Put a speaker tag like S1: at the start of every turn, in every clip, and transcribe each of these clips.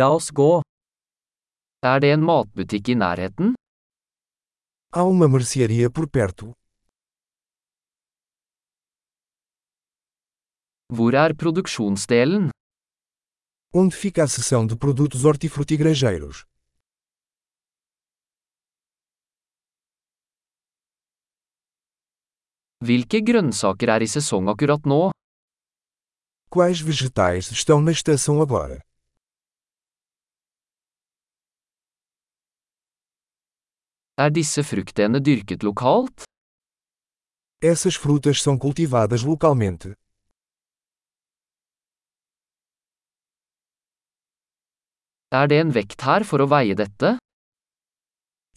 S1: La oss gå. Er det en matbutikk i nærheten?
S2: Há uma mercearia por perto.
S1: Hvor er produksjonsdelen?
S2: Onde fica a seção de produtos hortifrutigranjeiros?
S1: Hvilke grønnsaker er i sesong akkurat nå?
S2: Quais vegetais estão na estação agora?
S1: Er disse fruktene dyrket lokalt?
S2: Essas frutas são cultivadas localmente.
S1: Er det en vekt her for å veie dette?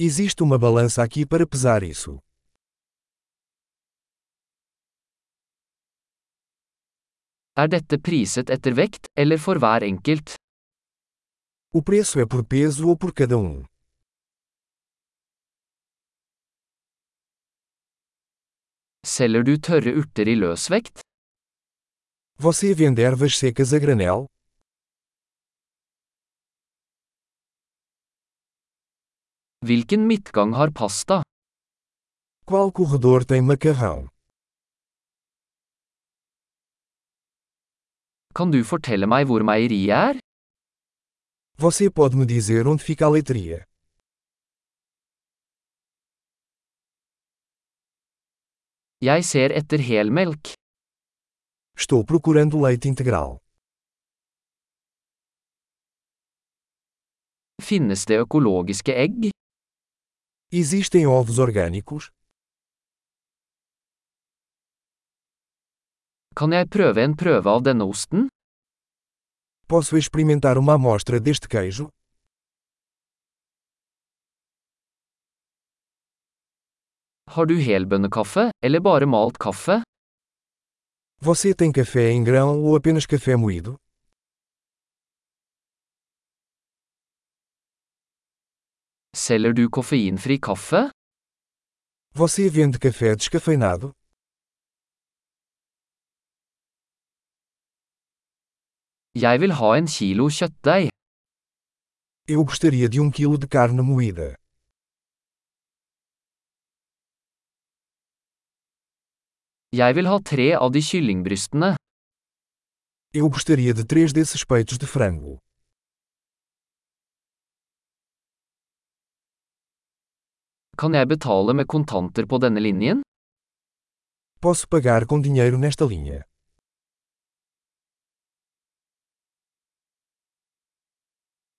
S2: Existe uma balança aqui para pesar isso.
S1: Er dette priset etter vekt, eller for hver enkelt?
S2: O preço é por peso ou por cada um.
S1: Selger du tørre urter i løsvekt?
S2: Você vende ervas secas a granel?
S1: Hvilken midtgang har pasta?
S2: Qual corredor tem macarrão?
S1: Kan du fortelle meg hvor meieriet er?
S2: Você pode me dizer onde fica a leitria?
S1: Jeg ser etter helmelk.
S2: Estou procurando leite integral.
S1: Finnes det økologiske egg?
S2: Existem ovos orgânicos?
S1: Kan jeg prøve en prøve av denne osten?
S2: Posso experimentar uma amostra deste queijo?
S1: Har du helbønnekaffe, eller bare malt kaffe?
S2: Você tem café em grão ou apenas café moído?
S1: Selger du koffeinfri kaffe?
S2: Você vende café descafeinado?
S1: Jeg vil ha en kilo kjøttdeig.
S2: Eu gostaria de um quilo de carne moída.
S1: Jeg vil ha tre av de kyllingbrystene.
S2: Eu gostaria de três desses peitos de frango.
S1: Kan jeg betale med kontanter på denne linjen?
S2: Posso pagar com dinheiro nesta linha.